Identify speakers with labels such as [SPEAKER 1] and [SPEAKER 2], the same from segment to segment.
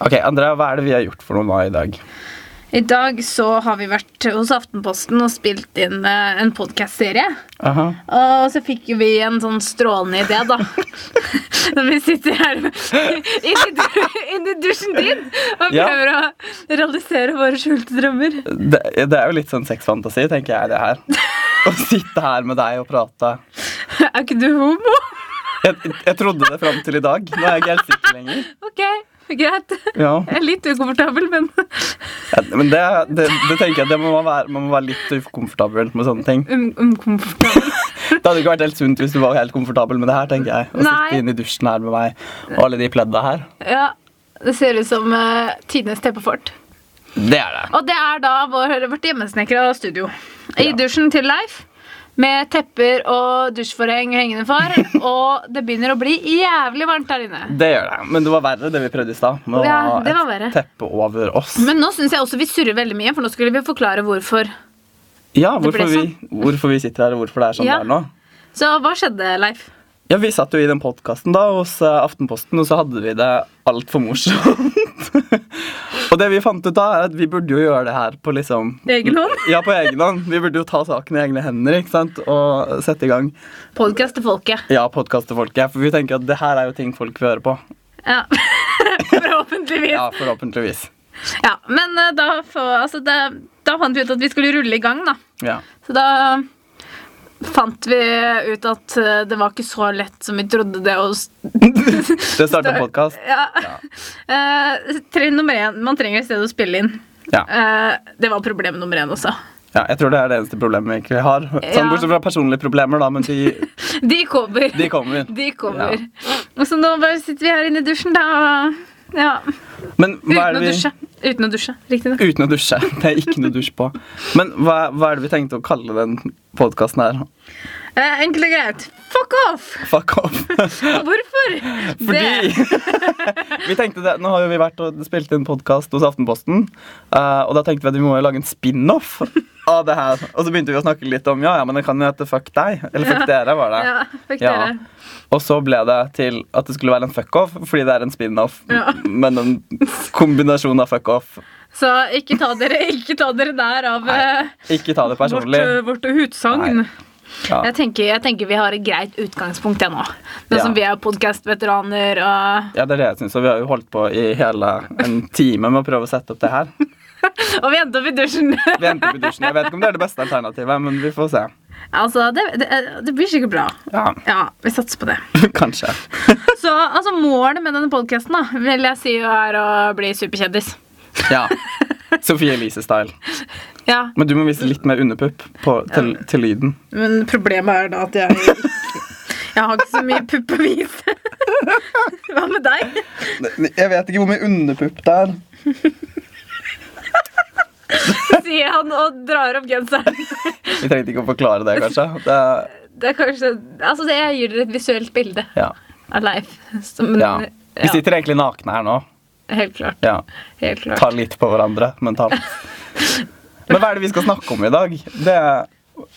[SPEAKER 1] Ok, Andrea, hva er det vi har gjort for noe da i dag?
[SPEAKER 2] I dag så har vi vært hos Aftenposten og spilt inn eh, en podkastserie.
[SPEAKER 1] Aha.
[SPEAKER 2] Og så fikk jo vi en sånn strålende idé, da. Når vi sitter her inni, du- inni dusjen din og
[SPEAKER 1] Ja.
[SPEAKER 2] prøver å realisere våre skjulte drømmer.
[SPEAKER 1] Det, det er jo litt sånn sexfantasi, tenker jeg, det her. Å sitte her med deg og prate.
[SPEAKER 2] Er ikke du homo?
[SPEAKER 1] Jeg, jeg trodde det fram til i dag. Nå er jeg ikke helt sikker lenger.
[SPEAKER 2] Ok, greit.
[SPEAKER 1] Ja.
[SPEAKER 2] Jeg er litt ukomfortabel, men
[SPEAKER 1] Ja, Men det, det, det tenker jeg, det må man være, man må være litt ukomfortabel med sånne ting.
[SPEAKER 2] um, ukomfortabel.
[SPEAKER 1] Det hadde ikke vært helt sunt hvis du var helt komfortabel med det her, tenker jeg. Å
[SPEAKER 2] Nei.
[SPEAKER 1] sitte inne i dusjen her med meg og alle de pledda her.
[SPEAKER 2] Ja, det ser ut som uh, tidenes teppefort.
[SPEAKER 1] Det er det.
[SPEAKER 2] Og det er da vår, vårt hjemmesnekra studio. I dusjen til Leif. Med tepper og dusjforheng hengende for. Og det begynner å bli jævlig varmt der inne.
[SPEAKER 1] Det gjør det. Men det var verre det vi prøvde i stad. Med å
[SPEAKER 2] Ja,
[SPEAKER 1] ha
[SPEAKER 2] det var
[SPEAKER 1] et
[SPEAKER 2] verre.
[SPEAKER 1] teppe over oss.
[SPEAKER 2] Men nå syns jeg også vi surrer veldig mye, for nå skulle vi forklare hvorfor.
[SPEAKER 1] ja,
[SPEAKER 2] det ble sånn.
[SPEAKER 1] hvorfor vi, hvorfor vi sitter her, og hvorfor det er sånn
[SPEAKER 2] Ja.
[SPEAKER 1] det er nå.
[SPEAKER 2] Så hva skjedde, Leif?
[SPEAKER 1] Ja, Vi satt jo i den podkasten hos eh, Aftenposten, og så hadde vi det altfor morsomt. og det vi fant ut da, er at vi burde jo gjøre det her på liksom
[SPEAKER 2] Egen hånd?
[SPEAKER 1] Ja, på egen hånd. Vi burde jo ta saken i egne hender ikke sant? og sette i gang
[SPEAKER 2] Podkast til folket.
[SPEAKER 1] ja, podkast til folket. For vi tenker at det her er jo ting folk vil høre på.
[SPEAKER 2] Ja. Forhåpentligvis.
[SPEAKER 1] Ja,
[SPEAKER 2] Ja.
[SPEAKER 1] forhåpentligvis.
[SPEAKER 2] Men eh, da, få- altså, det, da fant vi ut at vi skulle rulle i gang, da.
[SPEAKER 1] Ja.
[SPEAKER 2] Så da fant vi ut at eh, det var ikke så lett som vi trodde det å s-
[SPEAKER 1] Det starter en podkast.
[SPEAKER 2] Ja. Eh, trinn nummer én. Man trenger et sted å spille inn.
[SPEAKER 1] Ja.
[SPEAKER 2] Eh, det var problem nummer én også.
[SPEAKER 1] ja. Jeg tror det er det eneste problemet vi egentlig har.
[SPEAKER 2] Ja.
[SPEAKER 1] Sånn, bortsett fra personlige problemer, da, men de,
[SPEAKER 2] De kommer.
[SPEAKER 1] de kommer.
[SPEAKER 2] De kommer. Og så nå bare sitter vi her inne i dusjen, da. Ja.
[SPEAKER 1] Men hva er
[SPEAKER 2] Uten å
[SPEAKER 1] det vi
[SPEAKER 2] dusje. Uten å dusje, riktignok.
[SPEAKER 1] Uten å dusje. Det er ikke noe dusj på. Men hva, hva er det vi tenkte å kalle den podkasten her?
[SPEAKER 2] Eh, enkelt og greit. Fuck off!
[SPEAKER 1] Fuck off.
[SPEAKER 2] Hvorfor?
[SPEAKER 1] Fordi
[SPEAKER 2] Det.
[SPEAKER 1] vi tenkte det, Nå har jo vi vært og spilt inn podkast hos Aftenposten, eh, og da tenkte vi at vi må jo lage en spin-off av det her. Og så begynte vi å snakke litt om ja, ja, men det kan jo hete Fuck deg. Eller Fuck dere, var det.
[SPEAKER 2] Ja, fuck
[SPEAKER 1] Ja.
[SPEAKER 2] dere.
[SPEAKER 1] Og så ble det til at det skulle være en fuck-off, fordi det er en spin-off,
[SPEAKER 2] Ja.
[SPEAKER 1] men en kombinasjon av fuck-off.
[SPEAKER 2] Så ikke ta dere, ikke ta dere der av
[SPEAKER 1] Nei,
[SPEAKER 2] eh,
[SPEAKER 1] Ikke ta det
[SPEAKER 2] vårt,
[SPEAKER 1] personlig.
[SPEAKER 2] eh, vårt utsagn.
[SPEAKER 1] Nei. Ja.
[SPEAKER 2] Jeg, tenker, jeg tenker vi har et greit utgangspunkt jeg nå. Nå
[SPEAKER 1] Ja.
[SPEAKER 2] som vi er podkastveteraner og
[SPEAKER 1] Ja, det er det jeg synes, og Vi har jo holdt på i hele en time med å prøve å sette opp det her.
[SPEAKER 2] Og vi endte opp i dusjen.
[SPEAKER 1] Vi endte opp i dusjen. Jeg vet ikke om det er det beste alternativet, men vi får se.
[SPEAKER 2] altså, det, det, det blir sikkert bra.
[SPEAKER 1] Ja,
[SPEAKER 2] Ja, vi satser på det.
[SPEAKER 1] Kanskje.
[SPEAKER 2] Så altså, målet med denne podkasten vil jeg si er å bli superkjendis.
[SPEAKER 1] Ja. Sophie Elise-style.
[SPEAKER 2] Ja,
[SPEAKER 1] Men du må vise litt mer underpupp på- til, til lyden.
[SPEAKER 2] men problemet er da at jeg ikke Jeg har ikke så mye pupp å vise. Hva med deg?
[SPEAKER 1] Jeg vet ikke hvor mye underpupp det er.
[SPEAKER 2] sier han og drar opp genseren.
[SPEAKER 1] Vi trengte ikke å forklare det, kanskje. Det er,
[SPEAKER 2] Det er kanskje Altså, det- jeg gir dere et visuelt bilde
[SPEAKER 1] ja.
[SPEAKER 2] av Leif. Som,
[SPEAKER 1] ja.
[SPEAKER 2] ja.
[SPEAKER 1] Vi sitter egentlig nakne her nå.
[SPEAKER 2] Helt klart.
[SPEAKER 1] Ja.
[SPEAKER 2] Helt klart.
[SPEAKER 1] Tar litt på hverandre mentalt. Men hva er det vi skal snakke om i dag? Det,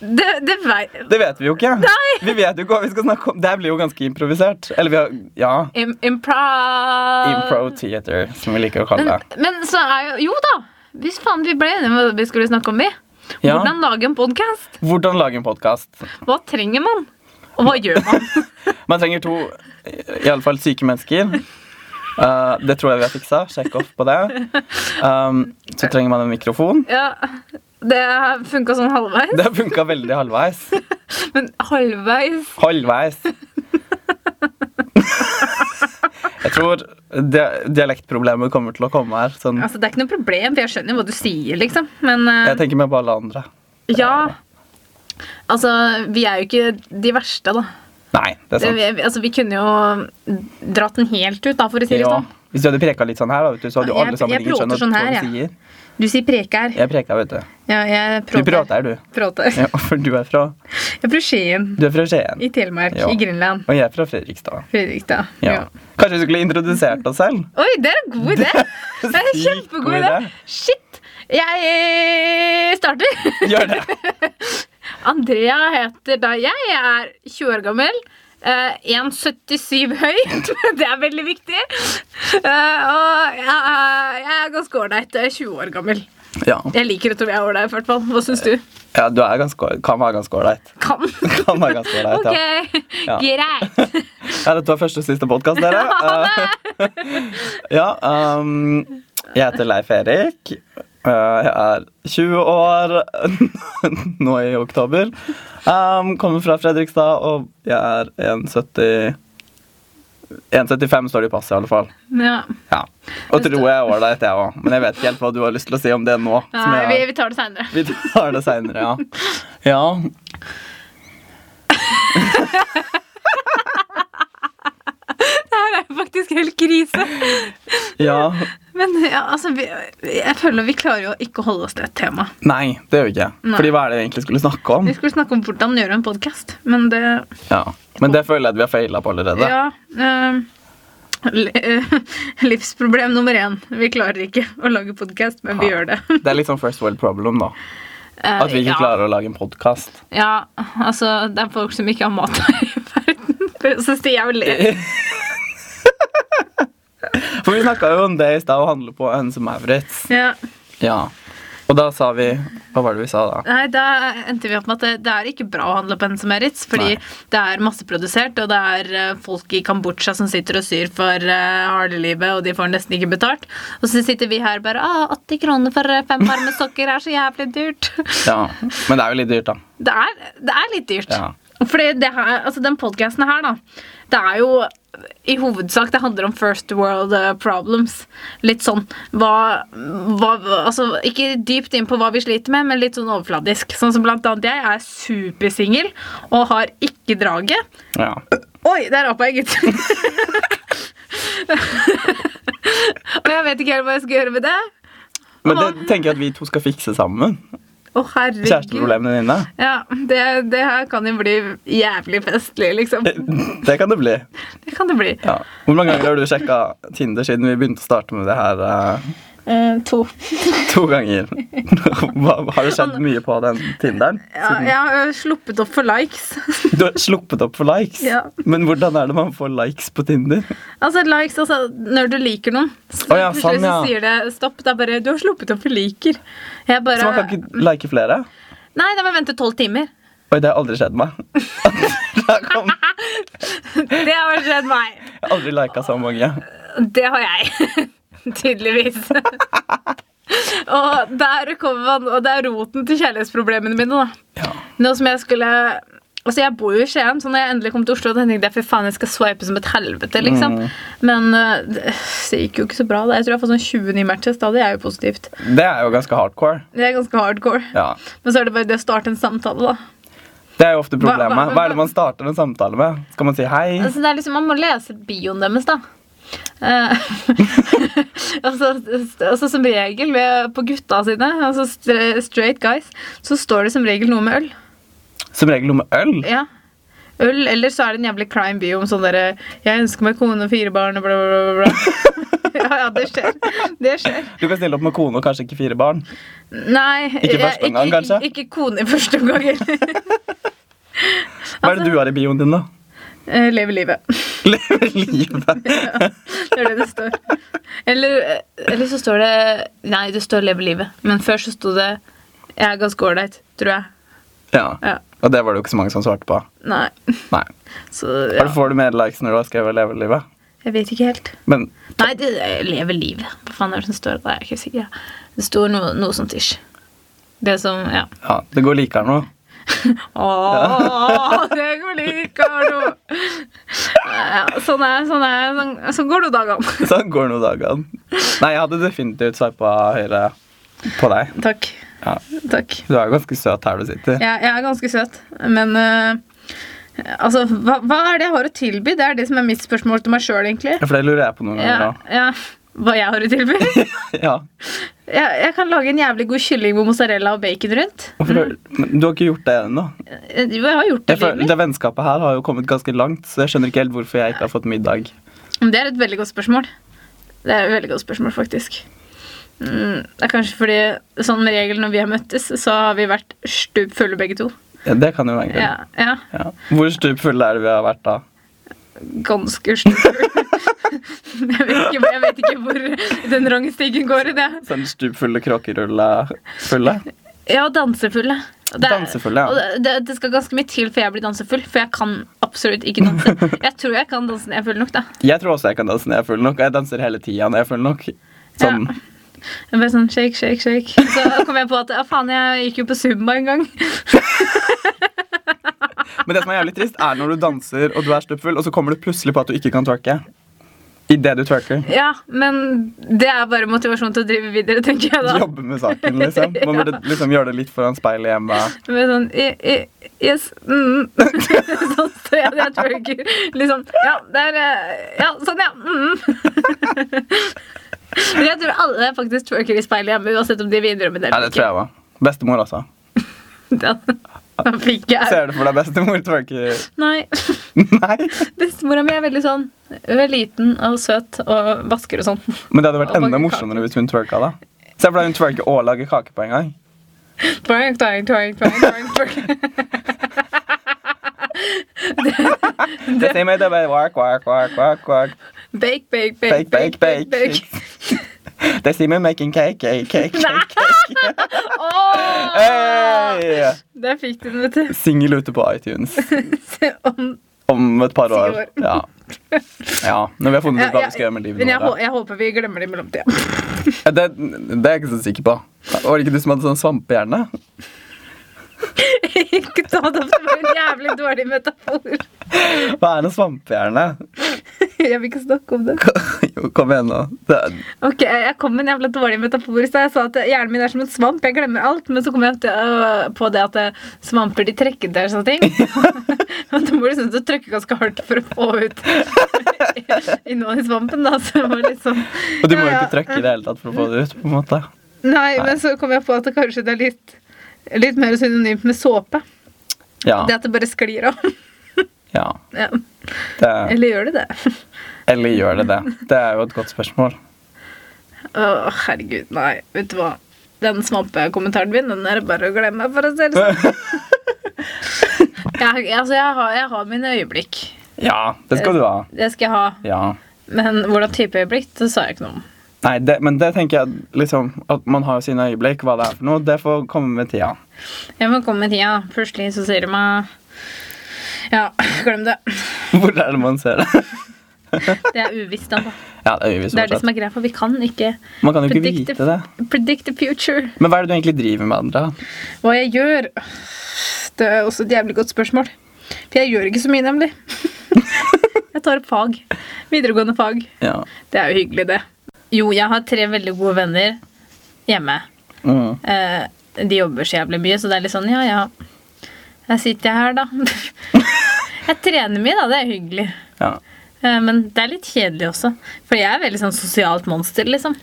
[SPEAKER 2] Det, det vei-
[SPEAKER 1] det vet vi jo ikke. Vi vet jo ikke hva vi skal snakke om. Det her blir jo ganske improvisert. Eller vi har Ja.
[SPEAKER 2] Im improv...
[SPEAKER 1] Impro theater, som vi liker å kalle
[SPEAKER 2] Men,
[SPEAKER 1] det.
[SPEAKER 2] men så er jo Jo da! Hvis faen vi ble enige om hva vi skulle snakke om, vi.
[SPEAKER 1] Ja.
[SPEAKER 2] Hvordan lage en podkast?
[SPEAKER 1] Hvordan lage en podkast?
[SPEAKER 2] Hva trenger man? Og hva gjør man?
[SPEAKER 1] Man trenger to iallfall syke mennesker. Eh, det tror jeg vi har fiksa. Sjekk opp på det. Um, så trenger man en mikrofon.
[SPEAKER 2] Ja, det funka sånn halvveis.
[SPEAKER 1] Det har funka veldig halvveis.
[SPEAKER 2] Men halvveis
[SPEAKER 1] Halvveis. Jeg tror dia- dialektproblemet kommer til å komme her. Sånn,
[SPEAKER 2] Altså, Det er ikke noe problem, for jeg skjønner jo hva du sier, liksom. Men eh,
[SPEAKER 1] jeg tenker med på alle andre.
[SPEAKER 2] ja Altså, vi er jo ikke de verste, da.
[SPEAKER 1] Nei, det er
[SPEAKER 2] Det,
[SPEAKER 1] sant.
[SPEAKER 2] vi, altså, vi kunne jo dratt den helt ut, da, for å si det
[SPEAKER 1] Ja.
[SPEAKER 2] sånn.
[SPEAKER 1] Hvis du hadde preka litt sånn her, da, vet du, så hadde jo
[SPEAKER 2] Jeg-
[SPEAKER 1] alle sammen
[SPEAKER 2] jeg
[SPEAKER 1] ikke skjønt
[SPEAKER 2] prater sånn her,
[SPEAKER 1] hva du
[SPEAKER 2] jeg.
[SPEAKER 1] sier.
[SPEAKER 2] Du sier preker.
[SPEAKER 1] Jeg preka, vet du.
[SPEAKER 2] Ja, jeg
[SPEAKER 1] Du
[SPEAKER 2] prater.
[SPEAKER 1] prater, du.
[SPEAKER 2] Prater.
[SPEAKER 1] Ja, for du er fra
[SPEAKER 2] Jeg er fra Skien.
[SPEAKER 1] Du er fra Skien.
[SPEAKER 2] I Telemark.
[SPEAKER 1] Ja.
[SPEAKER 2] I Grenland.
[SPEAKER 1] Og jeg er fra Fredrikstad.
[SPEAKER 2] Fredrikstad.
[SPEAKER 1] Ja.
[SPEAKER 2] Ja.
[SPEAKER 1] Kanskje vi skulle introdusert oss selv?
[SPEAKER 2] Oi, det er en god idé! Det er en
[SPEAKER 1] Sykt
[SPEAKER 2] Kjempegod
[SPEAKER 1] god
[SPEAKER 2] idé.
[SPEAKER 1] idé.
[SPEAKER 2] Shit! Jeg eh, starter.
[SPEAKER 1] Gjør det.
[SPEAKER 2] Andrea heter da jeg. Jeg er 20 år gammel. eh, 1,77 høy. Det er veldig viktig. Eh, og jeg, jeg er ganske ålreit. Jeg er 20 år gammel.
[SPEAKER 1] Ja.
[SPEAKER 2] Jeg liker å tro jeg er ålreit, i hvert fall. Hva syns du?
[SPEAKER 1] ja du er ganske, kan være ganske ålreit.
[SPEAKER 2] Kan.
[SPEAKER 1] Kan være ganske ålreit,
[SPEAKER 2] Ok,
[SPEAKER 1] ja. Ja. eh.
[SPEAKER 2] greit.
[SPEAKER 1] Ja, dette var første og siste podkast, dere. Eh, ja, ehm, jeg heter Leif Erik. Eh, jeg er 20 år nå i oktober. Ehm, kommer fra Fredrikstad, og jeg er 1,70 1,75 står det i passet, i alle fall.
[SPEAKER 2] Ja.
[SPEAKER 1] Ja. Og tror jeg er ålreit, jeg òg. Men jeg vet ikke helt hva du har lyst til å si om det nå. som
[SPEAKER 2] Nei, vi,
[SPEAKER 1] jeg,
[SPEAKER 2] vi tar det seinere.
[SPEAKER 1] vi tar det seinere, ja. ja.
[SPEAKER 2] Det er jo faktisk helt krise.
[SPEAKER 1] Ja.
[SPEAKER 2] Men ja, altså, vi, jeg føler vi klarer jo ikke å holde oss til et tema.
[SPEAKER 1] Nei, det gjør vi ikke.
[SPEAKER 2] Nei.
[SPEAKER 1] Fordi hva er det vi egentlig skulle snakke om?
[SPEAKER 2] Vi skulle snakke om hvordan gjøre en podkast, men det
[SPEAKER 1] Ja. Men det føler jeg at vi har feila på allerede.
[SPEAKER 2] Ja. eh, li- eh, livsproblem nummer én. Vi klarer ikke å lage podkast, men vi
[SPEAKER 1] Ja.
[SPEAKER 2] gjør det.
[SPEAKER 1] Det er litt sånn first world problem, da.
[SPEAKER 2] Eh,
[SPEAKER 1] At vi ikke
[SPEAKER 2] ja.
[SPEAKER 1] klarer å lage en podkast.
[SPEAKER 2] Ja, altså, det er folk som ikke har mat her i verden. Så sier jeg jo ler.
[SPEAKER 1] For vi snakka jo om det i stad, å handle på en som Maurits.
[SPEAKER 2] Ja.
[SPEAKER 1] Ja. Og da sa vi Hva var det vi sa da?
[SPEAKER 2] Nei, da endte vi opp med at det, det er ikke bra å handle på Hennes og Maurits, fordi
[SPEAKER 1] Nei.
[SPEAKER 2] det er masseprodusert, og det er eh, folk i Kambodsja som sitter og syr for uh, harde-livet, og de får nesten ikke betalt. Og så sitter vi her bare «Ah, 80 kroner for eh, fem par med sokker er så jævlig dyrt.
[SPEAKER 1] Ja. Men det er jo litt dyrt, da.
[SPEAKER 2] Det er, det er litt dyrt.
[SPEAKER 1] Ja.
[SPEAKER 2] Fordi det her, altså den podcasten her, da, det er jo i hovedsak det handler om first world eh, problems. Litt sånn hva, hva Altså ikke dypt inn på hva vi sliter med, men litt sånn overfladisk. Sånn som blant annet jeg er supersingel og har ikke draget.
[SPEAKER 1] Ja.
[SPEAKER 2] Oi, der apa jeg, gitt. og jeg vet ikke helt hva jeg skal gjøre med det.
[SPEAKER 1] Men det tenker jeg at vi to skal fikse sammen.
[SPEAKER 2] Å, herregud.
[SPEAKER 1] Kjæresteproblemene dine.
[SPEAKER 2] Ja, det, det her kan jo bli jævlig festlig, liksom.
[SPEAKER 1] Det kan det bli.
[SPEAKER 2] Det kan det bli.
[SPEAKER 1] Ja. Hvor mange ganger har du sjekka Tinder siden vi begynte å starte med det her? eh,
[SPEAKER 2] Eh, to.
[SPEAKER 1] to ganger. Hva- har det skjedd mye på den Tinderen?
[SPEAKER 2] Ja, jeg har sluppet opp for likes.
[SPEAKER 1] Du har sluppet opp for likes.
[SPEAKER 2] Ja.
[SPEAKER 1] Men hvordan er det man får likes på Tinder?
[SPEAKER 2] altså likes, altså når du liker noen. Så
[SPEAKER 1] Å ja,
[SPEAKER 2] plutselig
[SPEAKER 1] sånn, ja.
[SPEAKER 2] så sier det stopp. Det er bare 'du har sluppet opp for liker'. Jeg bare
[SPEAKER 1] Så man kan ikke
[SPEAKER 2] Eh,
[SPEAKER 1] like flere?
[SPEAKER 2] Nei, da må jeg vente tolv timer.
[SPEAKER 1] Oi, det har aldri skjedd meg. Da kom- Jeg
[SPEAKER 2] Det har skjedd meg.
[SPEAKER 1] har aldri lika så mange.
[SPEAKER 2] Det har jeg. Tydeligvis. og der kommer man, og det er roten til kjærlighetsproblemene mine, da.
[SPEAKER 1] Ja.
[SPEAKER 2] Nå som jeg skulle Altså, jeg bor jo i Skien, så når jeg endelig kom til Oslo, da tenkte jeg fy faen, jeg skal swipe som et helvete, liksom. Men øh, det det gikk jo ikke så bra. da. Jeg tror jeg har fått sånn 20 nye matches. Da det er jo positivt.
[SPEAKER 1] Det er jo ganske hardcore.
[SPEAKER 2] Det er ganske hardcore.
[SPEAKER 1] Ja.
[SPEAKER 2] Men så er det bare det å starte en samtale, da.
[SPEAKER 1] Det er jo ofte
[SPEAKER 2] Hva- hva-
[SPEAKER 1] problemet. Hva er det man starter en samtale med? Skal man si hei?
[SPEAKER 2] Altså, det er liksom, Man må lese bioen deres, da. Eh, altså, altså Som regel ved- på gutta sine, altså stra- straight guys, så står det som regel noe med øl.
[SPEAKER 1] Som regel noe med øl.
[SPEAKER 2] Ja. Øl, eller så er det en jævlig crime bio om sånn derre 'Jeg ønsker meg kone og fire barn' og bla, bla, bla. bla. ja, ja, det skjer. Det skjer.
[SPEAKER 1] Du kan stille opp med kone og kanskje ikke fire barn.
[SPEAKER 2] Nei. eh,
[SPEAKER 1] Ikke i første omgang,
[SPEAKER 2] ikke,
[SPEAKER 1] kanskje?
[SPEAKER 2] Ikke kone i første omgang heller.
[SPEAKER 1] Hva er
[SPEAKER 2] Altså-
[SPEAKER 1] det du har i bioen din, da?
[SPEAKER 2] Eh, Leve livet.
[SPEAKER 1] Leve livet.
[SPEAKER 2] Det er det det står. Eller, eh, eller så står det Nei, det står 'leve livet', men før så sto det 'jeg er ganske ålreit', tror jeg.
[SPEAKER 1] Ja.
[SPEAKER 2] Ja.
[SPEAKER 1] Og det var det jo ikke så mange som svarte på.
[SPEAKER 2] Nei.
[SPEAKER 1] Nei.
[SPEAKER 2] Så
[SPEAKER 1] Eller
[SPEAKER 2] ja.
[SPEAKER 1] får du mer likes når du har skrevet 'leve livet'?
[SPEAKER 2] Jeg vet ikke helt.
[SPEAKER 1] Men
[SPEAKER 2] Nei, det det- leve livet. Hva faen er det som står der? Jeg er ikke sikker. Det står noe, noe sånt ish. Det som Ja.
[SPEAKER 1] ja, det går likere nå.
[SPEAKER 2] Åh, det går like, Arno. Ja, sånn er sånn er, sånn, sånn går det dagene.
[SPEAKER 1] Sånn går nå dagene. Nei, jeg hadde definitivt sveipa høyre på deg.
[SPEAKER 2] Takk.
[SPEAKER 1] Ja.
[SPEAKER 2] Takk.
[SPEAKER 1] Du er jo ganske søt her du sitter.
[SPEAKER 2] Jeg, jeg er ganske søt, men eh, altså, hva, hva er det jeg har å tilby? Det er det som er mitt spørsmål til meg sjøl, egentlig.
[SPEAKER 1] For det lurer jeg på noen ganger
[SPEAKER 2] Ja,
[SPEAKER 1] òg.
[SPEAKER 2] ja. Hva jeg har å tilby?
[SPEAKER 1] Ja.
[SPEAKER 2] Jeg, jeg kan lage en jævlig god kylling med mozzarella og bacon rundt.
[SPEAKER 1] Hvorfor har- Men Du har ikke gjort det ennå.
[SPEAKER 2] Eh, Jo, jeg har gjort det.
[SPEAKER 1] Jeg
[SPEAKER 2] i livet
[SPEAKER 1] føler-
[SPEAKER 2] mitt.
[SPEAKER 1] Det vennskapet her har jo kommet ganske langt, så jeg skjønner ikke helt hvorfor jeg ikke har fått middag.
[SPEAKER 2] Men Det er et veldig godt spørsmål. Det er et veldig godt spørsmål, faktisk. Mm, det er kanskje fordi sånn med regel når vi har møttes, så har vi vært stup fulle begge to.
[SPEAKER 1] Ja, det kan jo være en grunn.
[SPEAKER 2] Ja, ja.
[SPEAKER 1] Ja. Hvor stupfulle er det vi har vært da?
[SPEAKER 2] ganske stor. jeg, vet ikke, jeg vet ikke hvor den rangstigen går i det.
[SPEAKER 1] Sånn stupfulle kråkeruller fulle.
[SPEAKER 2] Ja, dansefulle. Det, er-
[SPEAKER 1] Dansefulle, ja.
[SPEAKER 2] og det- det, det skal ganske mye til før jeg blir dansefull, for jeg kan absolutt ikke danse. Jeg tror jeg kan danse når jeg er full nok, da.
[SPEAKER 1] Jeg tror også jeg kan danse når jeg er full nok, og jeg danser hele tida når jeg er full nok. Sånn.
[SPEAKER 2] Ja. Jeg bare sånn shake, shake, shake. Så kom jeg på at ja, faen, jeg gikk jo på Zumba en gang.
[SPEAKER 1] Men det som er jævlig trist, er når du danser og du er stupfull, og så kommer du plutselig på at du ikke kan twerke. Idet du twerker.
[SPEAKER 2] Ja, men det er bare motivasjon til å drive videre, tenker jeg da.
[SPEAKER 1] Jobbe med saken, liksom. Man burde liksom gjøre det litt foran speilet hjemme.
[SPEAKER 2] Med sånn i, i, Yes. Mm. sånn står jeg når jeg twerker. Liksom Ja, der eh, Ja, sånn, ja. Mm. Men jeg tror alle faktisk twerker i speilet hjemme, uansett om de vil innrømme det
[SPEAKER 1] Ja, det tror jeg var. Bestemor også.
[SPEAKER 2] Ja. Da fikk jeg
[SPEAKER 1] Ser du for deg bestemor twerker?
[SPEAKER 2] Nei.
[SPEAKER 1] Nei.
[SPEAKER 2] Bestemora mi er veldig sånn ø, liten og søt og vasker og sånn.
[SPEAKER 1] Men det hadde vært
[SPEAKER 2] Og
[SPEAKER 1] enda
[SPEAKER 2] bake
[SPEAKER 1] morsommere hvis hun twerka, da. Se for deg hun twerker og lager kake på en gang.
[SPEAKER 2] Twerk, twerk, twerk, twerk, twerk, twerk.
[SPEAKER 1] They say, "Mate, babe, work, work, work, work, work."
[SPEAKER 2] Bake, bake, bake,
[SPEAKER 1] Bake, bake, bake.
[SPEAKER 2] bake.
[SPEAKER 1] They see me making cake, cake, cake, cake.
[SPEAKER 2] Åh!
[SPEAKER 1] Hey!
[SPEAKER 2] Der fikk du den, vet du.
[SPEAKER 1] Singel ute på iTunes
[SPEAKER 2] Se om
[SPEAKER 1] om et par
[SPEAKER 2] Sikkert
[SPEAKER 1] år.
[SPEAKER 2] år.
[SPEAKER 1] Ja. ja. Når vi har funnet
[SPEAKER 2] Ja,
[SPEAKER 1] ut hva
[SPEAKER 2] ja,
[SPEAKER 1] vi skal gjøre med livet
[SPEAKER 2] Men jeg, hå-
[SPEAKER 1] vårt.
[SPEAKER 2] jeg håper vi glemmer det i
[SPEAKER 1] da.
[SPEAKER 2] mellomtida.
[SPEAKER 1] Det, det er jeg ikke så sikker på. Var det ikke du som hadde sånn svampehjerne?
[SPEAKER 2] Ikke ta det opp som en jævlig dårlig metafor.
[SPEAKER 1] Hva er en svampehjerne?
[SPEAKER 2] Jeg vil ikke snakke om det.
[SPEAKER 1] Jo, kom igjen nå. Det,
[SPEAKER 2] Ok, Jeg kom med en jævla dårlig metafor i stad. Jeg sa at hjernen min er som en svamp. Jeg glemmer alt. Men så kom jeg til, øh, på det at øh, svamper de trekker til og sånne ting. Og da må du synes du trykker ganske hardt for å få ut innholdet i svampen. da. Så det var litt sånn...
[SPEAKER 1] og du må jo
[SPEAKER 2] Ja, ja.
[SPEAKER 1] ikke trykke i det hele tatt for å få det ut. på en måte.
[SPEAKER 2] Nei, men så kom jeg på at det kanskje det er litt, litt mer synonymt med såpe.
[SPEAKER 1] Ja.
[SPEAKER 2] Det at det bare sklir av.
[SPEAKER 1] ja.
[SPEAKER 2] Ja.
[SPEAKER 1] Det,
[SPEAKER 2] Eller gjør det det?
[SPEAKER 1] eller gjør det det? Det er jo et godt spørsmål.
[SPEAKER 2] Å, herregud, nei. Vet du hva? Den svampekommentaren min den er det bare å glemme. for å si det sånn. Jeg, altså, jeg, har, jeg har mine øyeblikk.
[SPEAKER 1] Ja, det skal du ha.
[SPEAKER 2] Det skal jeg ha.
[SPEAKER 1] Ja.
[SPEAKER 2] Men hvordan type øyeblikk, det sa jeg ikke noe om.
[SPEAKER 1] Nei, det, men det tenker jeg liksom At man har jo sine øyeblikk, hva det er for noe. Det får komme med tida.
[SPEAKER 2] Jeg må komme med tida. Plutselig så sier de meg Ja, glem det.
[SPEAKER 1] Hvor er det man ser det?
[SPEAKER 2] Det er uvisst, altså.
[SPEAKER 1] Ja, det er øyevis
[SPEAKER 2] Det er det som
[SPEAKER 1] fortsatt.
[SPEAKER 2] er greia, for vi kan ikke
[SPEAKER 1] Man kan jo ikke
[SPEAKER 2] predict the-
[SPEAKER 1] vite det.
[SPEAKER 2] predict the future.
[SPEAKER 1] Men hva er det du egentlig driver med, Andrea?
[SPEAKER 2] Hva jeg gjør Det er også et jævlig godt spørsmål. For jeg gjør ikke så mye, nemlig. jeg tar opp fag. Videregående fag.
[SPEAKER 1] Ja.
[SPEAKER 2] Det er jo hyggelig, det. Jo, jeg har tre veldig gode venner hjemme.
[SPEAKER 1] Mm.
[SPEAKER 2] Eh, de jobber så jævlig mye, så det er litt sånn ja, ja. Her sitter jeg her, da. jeg trener mye, da. Det er hyggelig.
[SPEAKER 1] ja.
[SPEAKER 2] Eh, Men det er litt kjedelig også. For jeg er veldig sånn sosialt monster, liksom.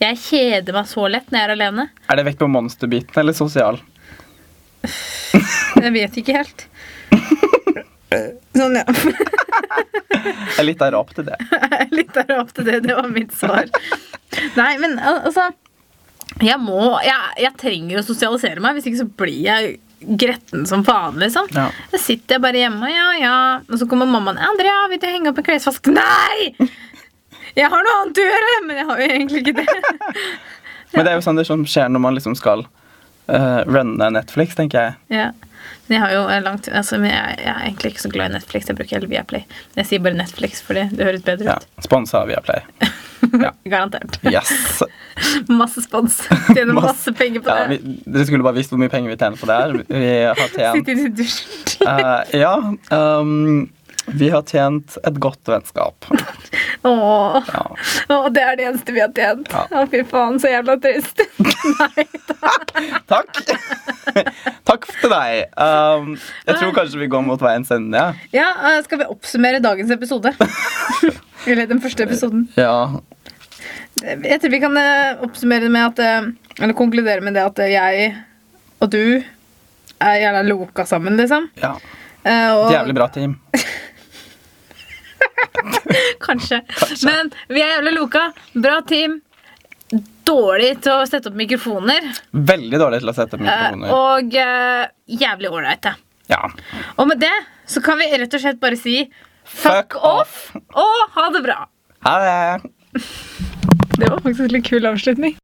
[SPEAKER 2] Jeg kjeder meg så lett når jeg er alene.
[SPEAKER 1] Er det vekt på monsterbiten eller sosial?
[SPEAKER 2] Jeg vet ikke helt. Sånn, ja.
[SPEAKER 1] Jeg er litt der opp til det.
[SPEAKER 2] Jeg lytter opp til det. Det var mitt svar. Nei, men al- altså Jeg må Jeg, jeg trenger å sosialisere meg, hvis ikke så blir jeg gretten som faen, liksom.
[SPEAKER 1] Ja.
[SPEAKER 2] Da sitter jeg bare hjemme, ja, ja. Og så kommer mammaen. 'Andrea, vil du henge opp en klesvask?' Nei! Jeg har noe annet å gjøre! Men jeg har jo egentlig ikke det.
[SPEAKER 1] Men det er jo sånn det som skjer når man liksom skal eh, runne Netflix, tenker jeg.
[SPEAKER 2] Ja. Men jeg har jo eh, langt altså, men jeg, jeg er egentlig ikke så glad i Netflix. Jeg bruker heller Viaplay. Men jeg sier bare Netflix fordi det høres bedre
[SPEAKER 1] Ja.
[SPEAKER 2] ut.
[SPEAKER 1] Sponsa av Viaplay. Ja.
[SPEAKER 2] Garantert.
[SPEAKER 1] Yes!
[SPEAKER 2] Masse spons. Tjener masse penger på
[SPEAKER 1] Ja, vi,
[SPEAKER 2] det.
[SPEAKER 1] dere skulle bare visst hvor mye penger vi tjener på det her. Vi har tjent
[SPEAKER 2] Sitter i dusjen.
[SPEAKER 1] Eh, ja. ehm, vi har tjent et godt vennskap.
[SPEAKER 2] Åh,
[SPEAKER 1] Ja.
[SPEAKER 2] Åh, det er det eneste vi har tjent.
[SPEAKER 1] Ja.
[SPEAKER 2] Å, fy faen, så jævla trist. Nei.
[SPEAKER 1] Takk! Takk til deg. Ehm, jeg tror kanskje vi går mot veiens ende. Ja.
[SPEAKER 2] Ja, eh, skal vi oppsummere dagens episode? Eller den første episoden.
[SPEAKER 1] Ja.
[SPEAKER 2] Jeg tror vi kan eh, oppsummere det med at eh, Eller konkludere med det at eh, jeg og du er gjerne loka sammen, liksom.
[SPEAKER 1] ja.
[SPEAKER 2] Eh,
[SPEAKER 1] Et
[SPEAKER 2] og
[SPEAKER 1] Jævlig bra team.
[SPEAKER 2] Kanskje. Men vi er jævla loka. Bra team. Dårlig til å sette opp mikrofoner.
[SPEAKER 1] Veldig dårlig til å sette opp
[SPEAKER 2] eh,
[SPEAKER 1] mikrofoner.
[SPEAKER 2] og eh, jævlig ålreite.
[SPEAKER 1] Ja.
[SPEAKER 2] Og med det så kan vi rett og slett bare si Fuck off og ha det bra.
[SPEAKER 1] Ha det!
[SPEAKER 2] Det var faktisk en litt kul avslutning.